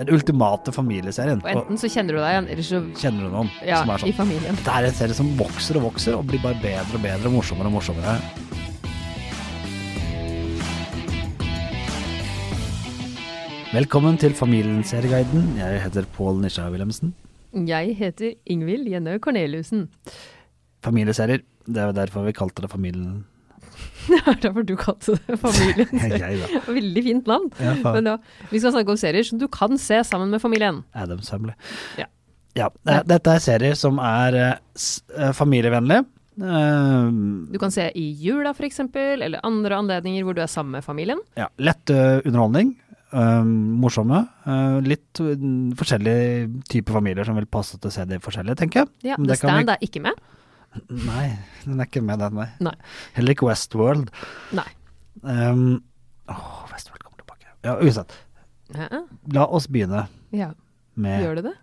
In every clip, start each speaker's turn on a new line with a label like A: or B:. A: Den ultimate familieserien.
B: Og enten så kjenner du deg igjen, eller så
A: Og kjenner du noen
B: ja,
A: som er
B: i
A: sånn?
B: familien.
A: Det er en serie som vokser og vokser og blir bare bedre og bedre og morsommere og morsommere. Velkommen til Familien-serieguiden. Jeg heter Pål Nisja Wilhelmsen.
B: Jeg heter Ingvild Jennaug Corneliussen.
A: Familieserier. Det er jo derfor vi kalte det Familien.
B: Det er derfor du kalte det familien.
A: Jeg, da.
B: Veldig fint navn.
A: Ja, faen.
B: Men ja, vi skal snakke om serier som du kan se sammen med familien.
A: Adam Samley.
B: Ja.
A: Ja, eh, Dette er serier som er eh, s- eh, familievennlige. Eh,
B: Du kan se i jula f.eks., eller andre anledninger hvor du er sammen med familien.
A: ja, lett eh, underholdning. eh, morsomme. eh, litt mm, forskjellige typer familier som vil passe til å se de forskjellige, tenker jeg.
B: Ja,
A: Men
B: The
A: det kan vi-
B: Stand er ikke med.
A: Nei, den er ikke med, den, nei.
B: Nei.
A: Heller ikke Westworld.
B: Nei.
A: Um, åh, Westworld kommer tilbake. Ja, uansett.
B: Hæ?
A: La oss begynne
B: Ja,
A: med
B: gjør det det?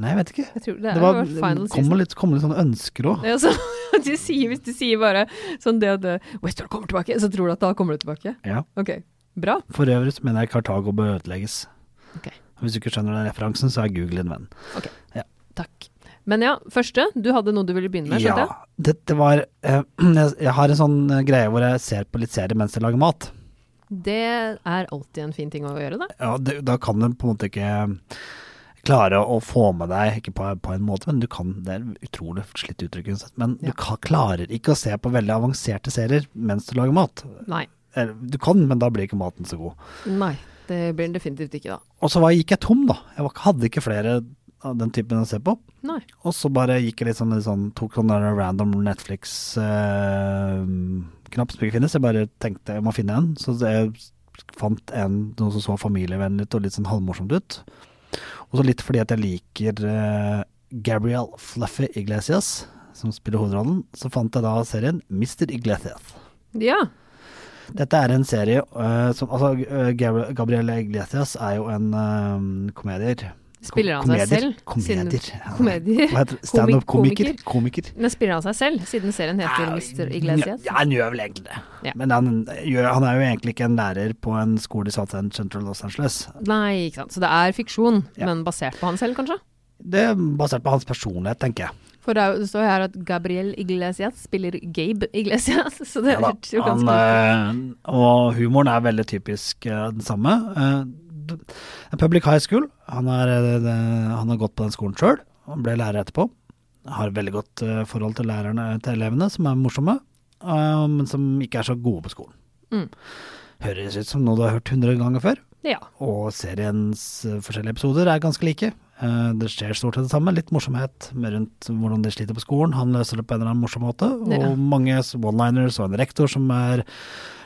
A: Nei, jeg vet ikke.
B: Jeg tror det,
A: Det
B: er
A: var,
B: var final season.
A: kommer litt, kommer litt sånne ønsker òg.
B: Ja, så, de sier, hvis de sier bare sånn det at eh, Westworld kommer tilbake, så tror du at da kommer det tilbake.
A: Ja.
B: Ok, bra.
A: For øvrig så mener jeg Kartago bør ødelegges.
B: Ok.
A: Hvis du ikke skjønner den referansen, så er Google din venn.
B: Takk. Men ja, første, du hadde noe du ville begynne med, skjønte jeg?
A: Dette var eh, jeg, jeg har en sånn eh, greie hvor jeg ser på litt serie mens jeg lager mat.
B: Det er alltid en fin ting å gjøre, da.
A: Ja, det, da kan du på en måte ikke eh, klare å få med deg, ikke på, på en måte, men du kan Det er et utrolig slitt uttrykk uansett, men
B: Ja.
A: du ka- klarer ikke å se på veldig avanserte serier mens du lager mat.
B: Nei.
A: Eller, du kan, men da blir ikke maten så god.
B: Nei, det blir den definitivt ikke, da.
A: Og så var, gikk jeg tom, da. Jeg var, hadde ikke flere av den typen å se på.
B: Nei.
A: Og så bare gikk jeg litt sånn, litt sånn tok sånn der random Netflix-knapp som ikke finnes. Jeg bare tenkte jeg må finne en. Så jeg fant en noe som så familievennlig ut og litt sånn halvmorsomt ut. Og så litt fordi at jeg liker eh, Gabrielle Fluffy Iglesias, som spiller hovedrollen, så fant jeg da serien Mr. Iglesias.
B: Ja.
A: Dette er en serie eh, som Altså, eh, Gabri- Gabrielle Iglesias er jo en eh, komedier.
B: Spiller han seg selv? siden-
A: Komedier.
B: Komedier.
A: Hva heter det? Standup-komiker.
B: Komik-
A: Komiker.
B: Men spiller han seg selv, siden serien heter Mr. Iglesias?
A: Ja, han gjør vel egentlig det.
B: Ja.
A: Men han, gjør, han er jo egentlig ikke en lærer på en skole i South End Central Los Angeles.
B: Nei, ikke sant. Så det er fiksjon,
A: Ja.
B: men basert på han selv, kanskje?
A: Det er basert på hans personlighet, tenker jeg.
B: For det er jo- det står jo her at Gabriel Iglesias spiller Gabe Iglesias, så det
A: Ja da.
B: hørtes jo
A: Han,
B: ganske ut.
A: eh, og humoren er veldig typisk eh, den samme. Eh, d- en public high school. Han, er, eh, det- han har gått på den skolen sjøl, og ble lærer etterpå. Har veldig godt eh, forhold til lærerne til elevene, som er morsomme, eh, men som ikke er så gode på skolen.
B: Mm.
A: Høres ut som noe du har hørt hundre ganger før.
B: Ja.
A: Og seriens eh, forskjellige episoder er ganske like. Eh, Det skjer stort sett det samme. Litt morsomhet med rundt hvordan de sliter på skolen. Han løser det på en eller annen morsom måte. Og
B: Ja.
A: mange s- one-liners og en rektor som er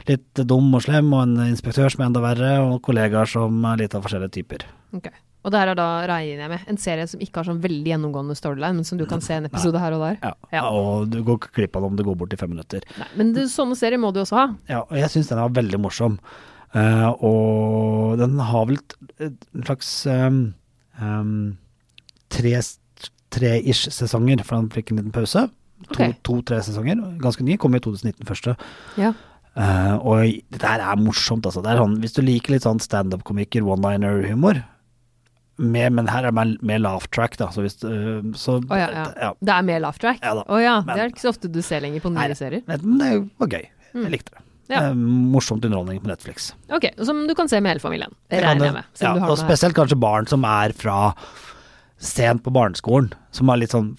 A: litt dum og slem, og en inspektør som er enda verre, og kollegaer som er litt av forskjellige typer.
B: Ok. Og det her er da, regner jeg med, en serie som ikke har sånn veldig gjennomgående storyline, men som du kan se en episode her og der.
A: Ja.
B: Ja.
A: Og du går ikke glipp av det om det går bort i fem minutter.
B: Nei, men det, sånne serier må du også ha.
A: Ja, og jeg syns den er veldig morsom. Eh, og den har vel et, et en slags um, um, tre- tre-ish sesonger, for han fikk en liten pause. To-
B: Ok.
A: To-tre sesonger, ganske ny. Kom i 2019 første.
B: Ja.
A: Eh, og i- det der er morsomt, altså. Det er sånn, hvis du liker litt sånn standup-komiker, one-liner-humor, med- men her er det mer, mer laugh track, da. Så hvis, eh, så,
B: Å ja, ja.
A: ja.
B: Det er mer laugh track?
A: Ja da,
B: Å ja,
A: men-
B: det er ikke så ofte du ser lenger på
A: Nei,
B: nye
A: det-
B: serier.
A: Men det var gøy. Jeg likte det.
B: Mm. Ja.
A: Det er morsomt underholdning på Netflix.
B: Ok, Som du kan se med hele familien,
A: Det kan
B: regner
A: det.
B: jeg med. Siden
A: ja,
B: du har
A: og
B: den her.
A: spesielt kanskje barn som er fra sent på barneskolen, som har litt sånn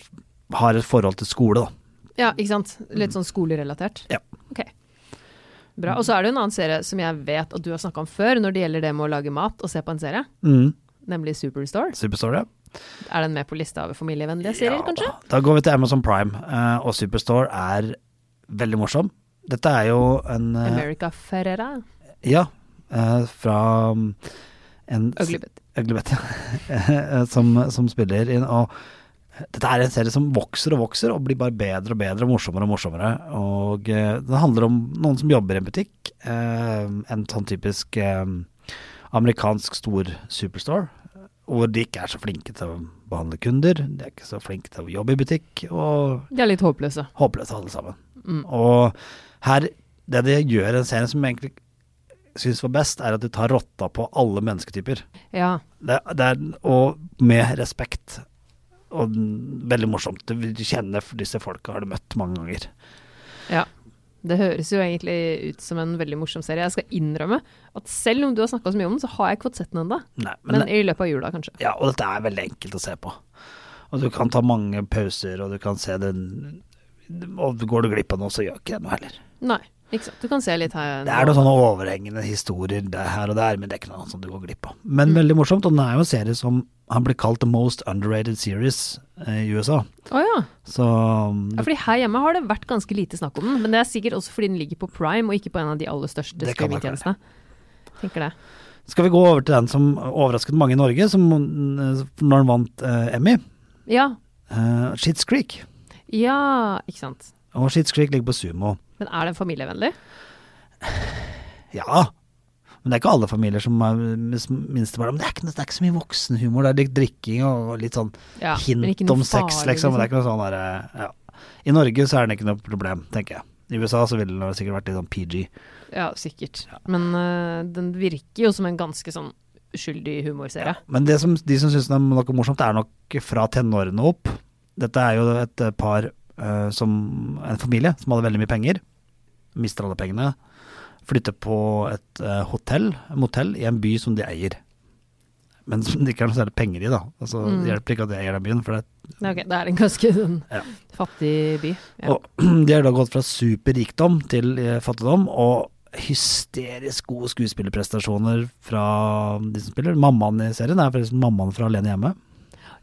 A: har et forhold til skole, da.
B: Ja, ikke sant? Litt sånn skolerelatert?
A: Ja.
B: Ok. Bra. Og så er det jo en annen serie som jeg vet at du har snakka om før, når det gjelder det med å lage mat og se på en serie,
A: Mm,
B: nemlig Superstore.
A: Superstore.
B: Er den med på lista over familievennlige serier,
A: Ja,
B: kanskje?
A: Da. da går vi til Amazon Prime, eh, og Superstore er veldig morsom. Dette er jo en eh,
B: America Ferrera.
A: Ja, eh, fra mm, en
B: Ugly Betty.
A: Ugly Betty, ja. eh, som, som spiller inn. Og dette er en serie som vokser og vokser, og blir bare bedre og bedre, morsommere og morsommere. Og eh, det handler om noen som jobber i en butikk. eh, en sånn typisk eh, amerikansk stor superstore. Hvor de ikke er så flinke til å behandle kunder, de er ikke så flinke til å jobbe i butikk, og
B: De er litt håpløse.
A: håpløse alle sammen.
B: Mm.
A: Og her, det de gjør i den serien som egentlig syns var best, er at du tar rotta på alle mennesketyper.
B: Ja.
A: Det, det er, og med respekt. Og den- veldig morsomt. Du du kjenner disse folka, har du møtt mange ganger.
B: Det høres jo egentlig ut som en veldig morsom serie. Jeg skal innrømme at selv om du har snakka så mye om den, så har jeg ikke fått sett den ennå.
A: Nei, men
B: Men i løpet av jula, kanskje.
A: Ja, og dette er veldig enkelt å se på. Og du kan ta mange pauser, og du kan se den Og går du glipp av noe, så gjør ikke det noe heller.
B: Nei, ikke sant. Du kan se litt her.
A: Det er noen sånne overhengende historier det er her og der, men det er ikke noe annet som du går glipp av.
B: Mm.
A: Men veldig morsomt, og den er jo en serie som har blitt kalt the most underrated series eh, i USA.
B: Å ja.
A: Så
B: ja. Fordi her hjemme har det vært ganske lite snakk om den. Men det er sikkert også fordi den ligger på prime og ikke på en av de aller største
A: Det kan nok være.
B: streamingtjenestene. Tenker det.
A: skal vi gå over til den som overrasket mange i Norge, som, eh, når den vant eh, Emmy.
B: Ja.
A: Uh, Shits Creek.
B: Ja, ikke sant.
A: Og Shits Creek ligger på Sumo.
B: Men er den familievennlig?
A: Ja. Men det er ikke alle familier som er med sm- minstebarn. Men det er ikke, det er ikke så mye voksenhumor. Det er litt drikking og litt sånn
B: Ja, men
A: hint
B: ikke noe
A: om sex,
B: farlig,
A: liksom. Det er ikke noe sånn der, eh, ja. I Norge så er det ikke noe problem, tenker jeg. I USA så ville det sikkert vært litt sånn PG.
B: Ja, sikkert. Men øh, den virker jo som en ganske sånn uskyldig humorserie.
A: Men det som, de som syns det er noe morsomt, er nok fra tenårene opp. Dette er jo et eh, par eh, som En familie som hadde veldig mye penger. Mister alle pengene. Flytter på et eh, hotell, motell, i en by som de eier. Men som de ikke har noe særlig penger i, da. Altså,
B: Mm.
A: Det hjelper ikke at de eier den byen. For det,
B: Nei, ok, det er en ganske sånn
A: Ja.
B: fattig by. Ja.
A: og, de har da gått fra superrikdom til eh, fattigdom, og hysterisk gode skuespillerprestasjoner fra de som spiller. Mammaen i serien er forresten mammaen fra Alene hjemme.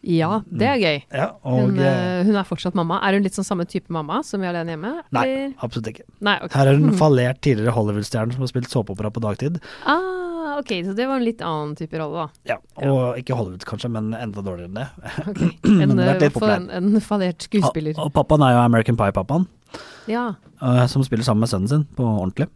B: ja, det er gøy.
A: Ja, og,
B: Hun,
A: eh,
B: øh, hun er fortsatt mamma. Er hun litt sånn samme type mamma som vi er alene hjemme?
A: Nei,
B: eller?
A: absolutt ikke.
B: Nei ok.
A: Her er en fallert tidligere Hollywood-stjerne som har spilt såpeopera på dagtid.
B: Ah, ok, så det var en litt annen type rolle, da.
A: Ja, og ikke Hollywood kanskje, men enda dårligere enn det.
B: Ok.
A: Men
B: En,
A: den har vært
B: øh,
A: litt Ah,
B: for en, en fallert skuespiller.
A: Og, og pappaen er jo American Pie-pappaen,
B: Ja,
A: eh, som spiller sammen med sønnen sin på ordentlig.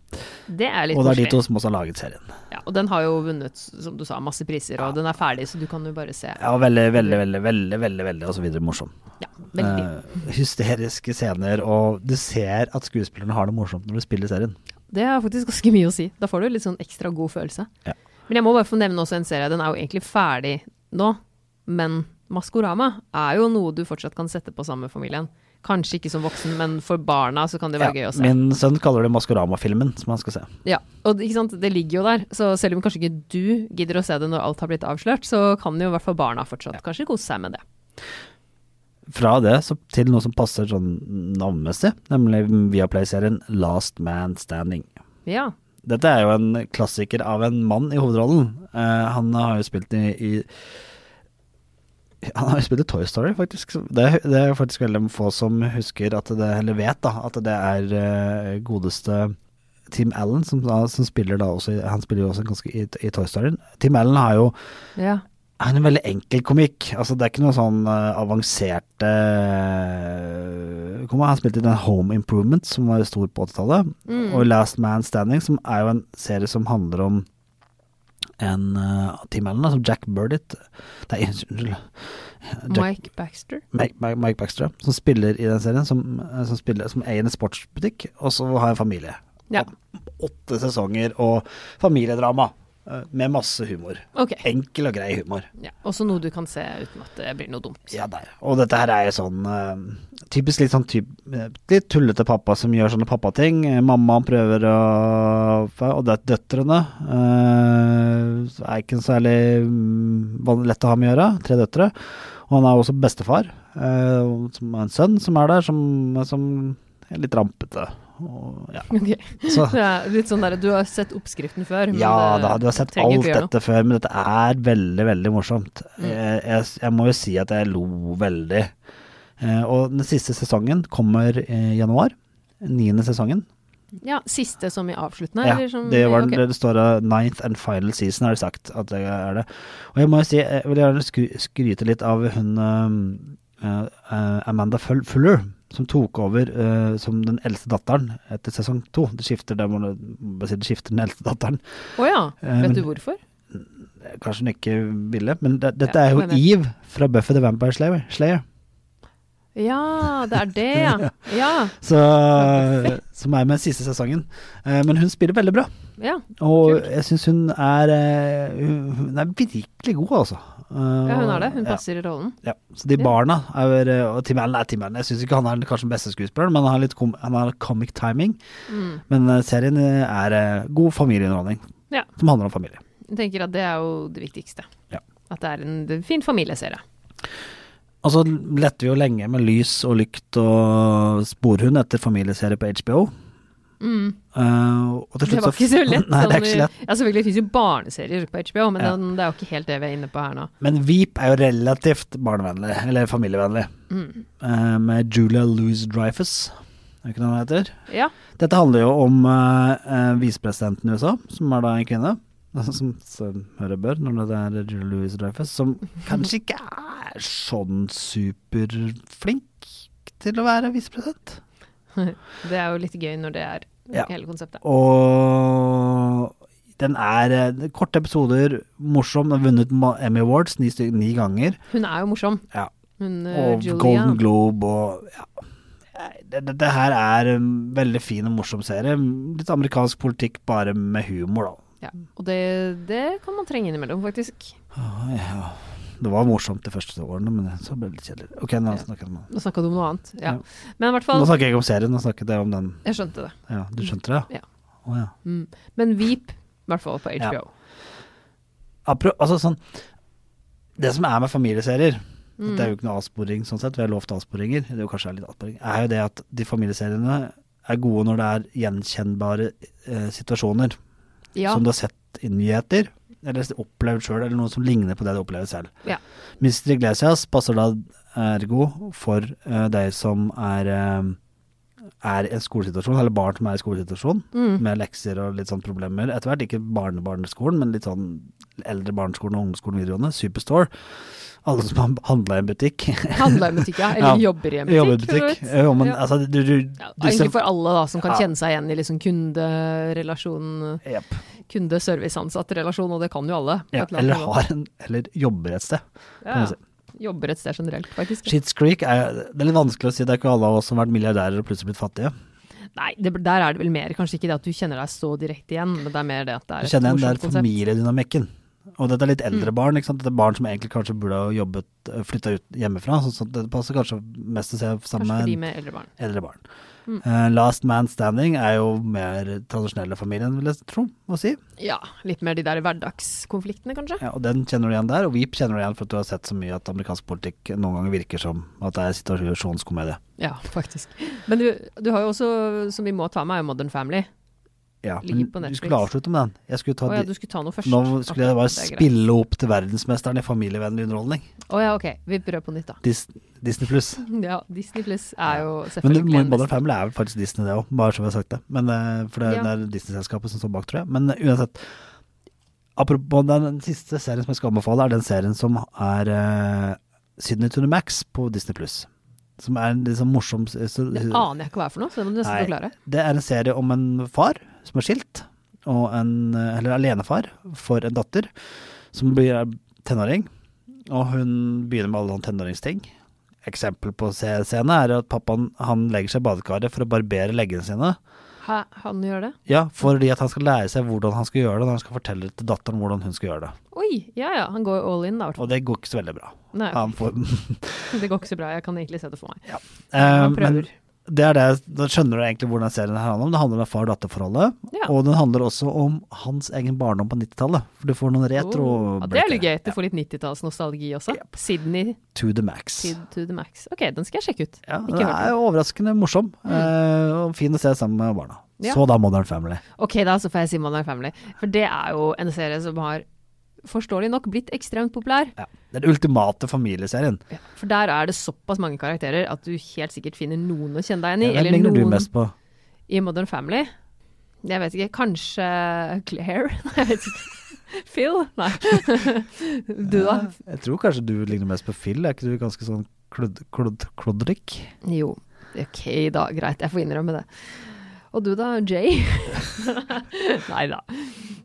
B: det er litt
A: Og det er de
B: koselig.
A: to som også har laget serien.
B: Ja, og den har jo vunnet, som du sa, masse priser, og den er ferdig, så du kan jo bare se.
A: Ja, og veldig, veldig, veldig, veldig, veldig, veldig, og så videre morsom.
B: Ja, veldig.
A: Eh, hysteriske scener, og du ser at skuespillerne har det morsomt når du spiller serien.
B: Det har faktisk ganske mye å si. Da får du litt sånn ekstra god følelse.
A: Ja.
B: Men jeg må bare få nevne også en serie. Den er jo egentlig ferdig nå, men Maskorama er jo noe du fortsatt kan sette på sammen med familien. Kanskje ikke som voksen, men for barna så kan det være gøy å se.
A: Min sønn kaller det Maskorama-filmen, som han skal se.
B: Ja, og det- ikke sant? det ligger jo der. Så selv om kanskje ikke du gidder å se det når alt har blitt avslørt, så kan jo i hvert fall barna fortsatt kanskje kose seg med det.
A: Fra det så til noe som passer sånn navnmessig, nemlig Viaplay-serien Last Man Standing.
B: Ja.
A: Dette er jo en klassiker av en mann i hovedrollen. Eh, han har jo spilt i, i Han har jo spilt i Toy Story, faktisk. Så Det, er- det er jo faktisk veldig få som husker at det, eller vet da, at det er eh, godeste Tim Allen, som, da, som spiller da også i- Han spiller jo også ganske i, i Toy Storyen. Tim Allen har jo
B: ja.
A: er en veldig enkel komikk. Altså, det er ikke noe sånn eh, avanserte Kom, Han spilte i den Home Improvement, som var stor på 80-tallet, og Last Man Standing, som er jo en serie som handler om en uh, Tim Allen, altså Jack Burdett Nei, unnskyld. Jack-
B: Mike Baxter.
A: Mike, Mike, Mike Baxter, ja, som spiller i den serien, som, eh, som, spiller, som eier en sportsbutikk, og så har en familie.
B: Ja.
A: Åtte sesonger og familiedrama, eh, med masse humor.
B: Ok.
A: Enkel og grei humor.
B: Ja. Også noe du kan se uten at det blir noe dumt.
A: Ja, der. Og dette her er jo sånn eh, typisk litt sånn typ, eh, litt tullete pappa som gjør sånne pappating. Eh, Mammaen prøver å Og det er døtrene. eh, er ikke så særlig mm, van- lett å ha med å gjøre. Tre døtre. Og han er også bestefar, eh, som har en sønn som er der, som, som er litt rampete. Og, ja.
B: Ok.
A: Så,
B: Det er litt sånn der, Du har sett oppskriften før. men
A: ja
B: det-
A: da, du har sett
B: trenger
A: alt
B: ikke gjøre noe.
A: dette før, men dette er veldig, veldig morsomt.
B: Mm.
A: Jeg, jeg, jeg må jo si at jeg lo veldig. Eh, og den siste sesongen kommer i januar. Niende sesongen.
B: Ja, Siste som i avsluttende?
A: Ja,
B: eller som,
A: det, var,
B: sånn- ok.
A: det står eh, 'ninth and final season', har de sagt at det er det. Og jeg må jo si, jeg vil gjerne skry skryte litt av hun eh, eh, Amanda Full- Fuller, som tok over eh, som den eldste datteren etter sesong to. Det skifter, det må du bare si, det skifter den eldste datteren.
B: Å ja.
A: Eh,
B: Vet
A: men-
B: du hvorfor?
A: Kanskje hun ikke ville, men det, dette
B: Ja,
A: er jo
B: hvem vet.
A: Eve fra Buffy the Vampire Slayer. Slayer.
B: Ja, det er det, ja. Ja.
A: Så, som er med siste sesongen. Eh, Men hun spiller veldig bra.
B: ja.
A: Og
B: Kult.
A: jeg syns hun er eh, Hun hun er virkelig god, altså. Eh,
B: ja, hun er det. Hun passer i rollen.
A: Ja, så de
B: Ja.
A: barna er, eh, Og Tim Allen er Tim Allen. Jeg syns ikke han er den kanskje den beste skuespilleren, men han har, litt kom, han har comic timing.
B: Mm.
A: Men eh, serien eh, er eh, god familieunderholdning,
B: Ja.
A: som handler om familie.
B: Jeg tenker at det er jo det viktigste.
A: Ja.
B: At det er en det er en fin familieserie.
A: Og så lette vi jo lenge med lys og lykt og sporhund etter familieserie på HBO.
B: Mm.
A: Eh, og til
B: Det
A: slutt
B: var ikke så lett.
A: Nei, det er
B: sånn
A: ikke
B: i-
A: så lett.
B: Ja, selvfølgelig fins jo barneserier på HBO, men
A: Ja.
B: den, det er jo ikke helt det vi er inne på her nå.
A: Men Veep er jo relativt barnevennlig, eller familievennlig,
B: Mm.
A: eh, med Julia Louis-Dreyfus. Er det ikke noe hun heter?
B: Ja.
A: Dette handler jo om eh, eh, visepresidenten i USA, som er da en kvinne. Som som høre bør, når det er Julie Louis Dreyfus, som kanskje ikke er sånn superflink til å være visepresident.
B: Det er jo litt gøy når det er
A: Ja.
B: hele konseptet.
A: Og den er eh, korte episoder, morsom, den har vunnet Ma- Emmy Awards ni, styk- ni ganger.
B: Hun er jo morsom.
A: Ja.
B: Hun eh,
A: Og
B: Julia.
A: Golden Globe og ja. Dette det, det her er en veldig fin og morsom serie. Litt amerikansk politikk bare med humor, da.
B: Ja. Og det, det kan man trenge innimellom, faktisk.
A: Åh, Ja. Det var morsomt de første to årene, men så ble det litt kjedelig. Ok, nå snakker jeg om
B: Nå snakka du om noe annet. Ja.
A: Ja.
B: Men i hvert
A: Nå
B: fall,
A: snakker jeg ikke om serien, nå snakket jeg om den.
B: jeg skjønte det.
A: Ja, du skjønte det?
B: Mm. Ja.
A: Å, ja.
B: Mm. Men Veep, i hvert fall på
A: Ja.
B: HBO.
A: Apro, altså sånn Det som er med familieserier
B: Mm.
A: Det er jo ikke noe avsporing sånn sett, vi har lovt avsporinger. Det er jo kanskje litt avsporing. Er jo det at de familieseriene er gode når det er gjenkjennbare eh, situasjoner
B: Ja.
A: som du har sett i nyheter, eller opplevd sjøl, eller noe som ligner på det du opplever selv.
B: Ja.
A: Mr. Iglesias passer da ergo for eh, deg som er eh, er i en skolesituasjon, eller barn som er i skolesituasjon,
B: Mm.
A: med lekser og litt sånn problemer. Etter hvert, ikke barnebarneskolen, men litt sånn eldre barneskolen og ungdomsskolen videregående, Superstore. Alle som har handla i en butikk.
B: Handla i butikk, ja. Eller
A: Ja.
B: jobber i en
A: Jobber i
B: butikk. for så
A: butikk.
B: vidt.
A: Jo, men
B: Ja.
A: altså, du, du
B: Ja,
A: disse,
B: egentlig for alle da, som kan
A: Ja.
B: kjenne seg igjen i liksom kunderelasjonen,
A: Jep.
B: kunde-service-ansatt-relasjon, og det kan jo alle. på
A: ja,
B: et eller
A: eller
B: annet nivå.
A: har en Eller jobber et sted.
B: ja,
A: man si.
B: Jobber et sted generelt, faktisk.
A: Shits Creek er, det er litt vanskelig å si. Det er ikke alle av oss som har vært milliardærer og plutselig blitt fattige.
B: Nei, det, der er det vel mer kanskje ikke det at du kjenner deg så direkte igjen, men det er mer det at det
A: Du
B: er
A: kjenner igjen
B: morsomt Mm.
A: der familiedynamikken. Og dette er litt eldre barn. ikke sant? Dette er barn som egentlig kanskje burde ha jobbet, flytta ut hjemmefra. Så, så det passer kanskje mest å se sammen
B: Kanskje Mm. for de
A: med
B: med eldre barn.
A: eldre barn. Eh, Last Man Standing er jo mer tradisjonelle familien, vil jeg tro. å si.
B: Ja, litt mer de der hverdagskonfliktene, kanskje.
A: Ja, og den kjenner du igjen der. Og Veep kjenner du igjen for at du har sett så mye at amerikansk politikk noen ganger virker som at det er situasjonskomedie.
B: Ja, faktisk. Men du, du har jo også, som vi må ta med, er jo Modern Family.
A: Ja, men
B: Ligger på
A: du
B: Netflix.
A: skulle avslutte med den. Jeg skulle ta
B: Å ja,
A: de,
B: du skulle ta noe først.
A: nå skulle jeg bare
B: Ok, det er greit.
A: spille opp til verdensmesteren i familievennlig underholdning.
B: Å ja, ok. Vi prøver på nytt, da.
A: Dis, Disney pluss.
B: Ja, Disney Plus er jo
A: Men
B: selvfølgelig
A: det, Modern
B: en
A: Modern Family er vel faktisk Disney, det òg, bare så vi har sagt det. Men, eh, for det,
B: Ja.
A: det er Disney-selskapet som står bak, tror jeg. Men eh, uansett. Apropos den, den siste serien som jeg skal anbefale, er den serien som er eh, Sydney to the Max på Disney Pluss. Som er en litt sånn morsom s- så,
B: Det aner jeg ikke hva er for noe, så det må du nesten
A: Nei.
B: forklare.
A: Det er en serie om en far som er skilt, og en, eller alenefar for en datter, som blir er tenåring. Og hun begynner med alle sånne tenåringsting. Eksempel på se- scene er at pappaen han legger seg i badekaret for å barbere leggene sine.
B: Hæ, han gjør det?
A: Ja, fordi at han skal lære seg hvordan han skal gjøre det, når han skal fortelle til datteren hvordan hun skal gjøre det.
B: Oi, ja ja, han går all in da. i hvert fall.
A: Og det går ikke så veldig bra.
B: Nei,
A: Han får,
B: det går ikke så bra, jeg kan egentlig se det for meg.
A: Eh,
B: Han
A: men
B: prøver.
A: det er det, da skjønner du egentlig hvordan serien her handler om. Det handler om far-datter-forholdet,
B: Ja.
A: og den handler også om hans egen barndom på 90-tallet. For du får noen retro
B: Oh, ja, det er litt gøy. Du får litt 90-tallsnostalgi også. Sydney
A: To the max.
B: Tid to the max. Ok, den skal jeg sjekke ut.
A: Ja,
B: Ikke
A: den
B: hørt Mm.
A: er jo overraskende morsom, eh, og fin å se sammen med barna.
B: Ja.
A: Så da Modern Family.
B: Ok, da så får jeg si Modern Family. For det er jo en serie som har, forståelig nok, blitt ekstremt populær.
A: Ja. Den ultimate familieserien.
B: For der er det såpass mange karakterer at du helt sikkert finner noen å kjenne deg igjen i.
A: Ja, Hvem
B: eller
A: ligner du
B: noen-
A: mest på?
B: i Modern Family. Jeg vet ikke, kanskje Claire? Nei, jeg vet ikke. Phil? Nei. Du da?
A: Jeg tror kanskje du ligner mest på Phil, er ikke du ganske sånn klod, klod, klodrik?
B: Jo. Ok da, greit. Jeg får innrømme det. Og du da, Jay? Nei da.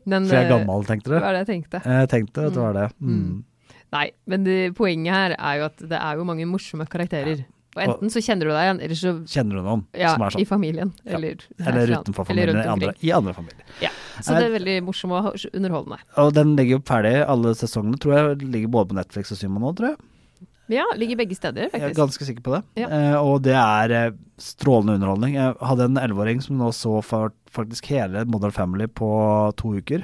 B: Men
A: For jeg er
B: eh,
A: gammel, tenkte
B: det
A: du?
B: var det jeg tenkte.
A: Jeg tenkte at det var det. Mm.
B: Nei, men det, poenget her er jo at det er jo mange morsomme karakterer. Og enten så kjenner du deg igjen, eller så
A: Kjenner du noen
B: ja,
A: som er
B: i
A: sånn?
B: familien.
A: Ja.
B: Eller,
A: Eller utenfor
B: eller
A: familien,
B: rundt
A: eller andre,
B: omkring.
A: i andre familier.
B: Ja. Så det er veldig morsomt og underholdende.
A: Og den ligger jo ferdig, alle sesongene, tror jeg. Ligger både på Netflix og Simon nå, tror jeg.
B: Ja, ligger begge steder,
A: Jeg er
B: faktisk.
A: ganske sikker på det.
B: Ja.
A: Eh, og det er eh, strålende underholdning. Jeg hadde en elleveåring som nå så fa- faktisk hele Modern Family på to uker.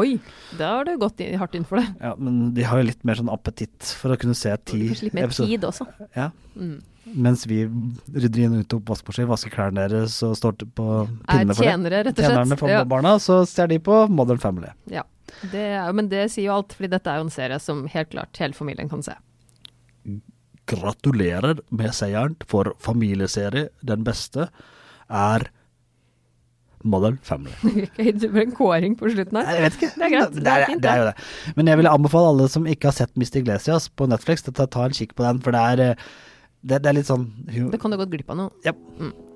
B: Oi, da har du gått i- hardt inn for det.
A: Ja, men de har jo litt mer sånn appetitt for å kunne se ti
B: Kanskje litt mer
A: episoder.
B: tid også.
A: Ja.
B: Mm.
A: Mens vi rydder inn og ut opp vaskemaskinen, vasker klærne deres og står til på
B: Er
A: pinnene for det.
B: tjenere, rett
A: Tjenerne
B: og
A: for
B: slett. Ja.
A: barna, så ser de på Modern Family.
B: Ja. Det er, jo- men det sier jo alt, fordi dette er jo en serie som helt klart hele familien kan se.
A: Gratulerer med seieren for familieserie. Den beste er Modern Family.
B: Ok, Det blir en kåring på slutten
A: Nei,
B: her.
A: jeg vet ikke.
B: Det er greit.
A: Det
B: Det
A: er,
B: er fint,
A: det er jo det. Men jeg vil anbefale alle som ikke har sett Mr. Iglesias på Netflix, til å ta- ta en kikk på den, for det er, eh, det, det er litt sånn hu-
B: Det kan du gått glipp av noe.
A: ja.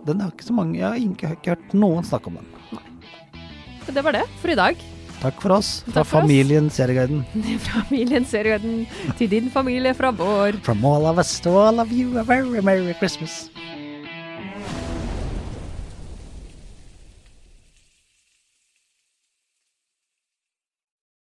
A: Den har ikke så mange Jeg har ikke, ikke hørt noen snakke om den.
B: Men det var det for i dag.
A: Takk for oss fra
B: Takk for oss.
A: familien Serieguiden.
B: Fra familien Serieguiden til din familie fra vår.
A: From all of us to all of you, a very merry Christmas.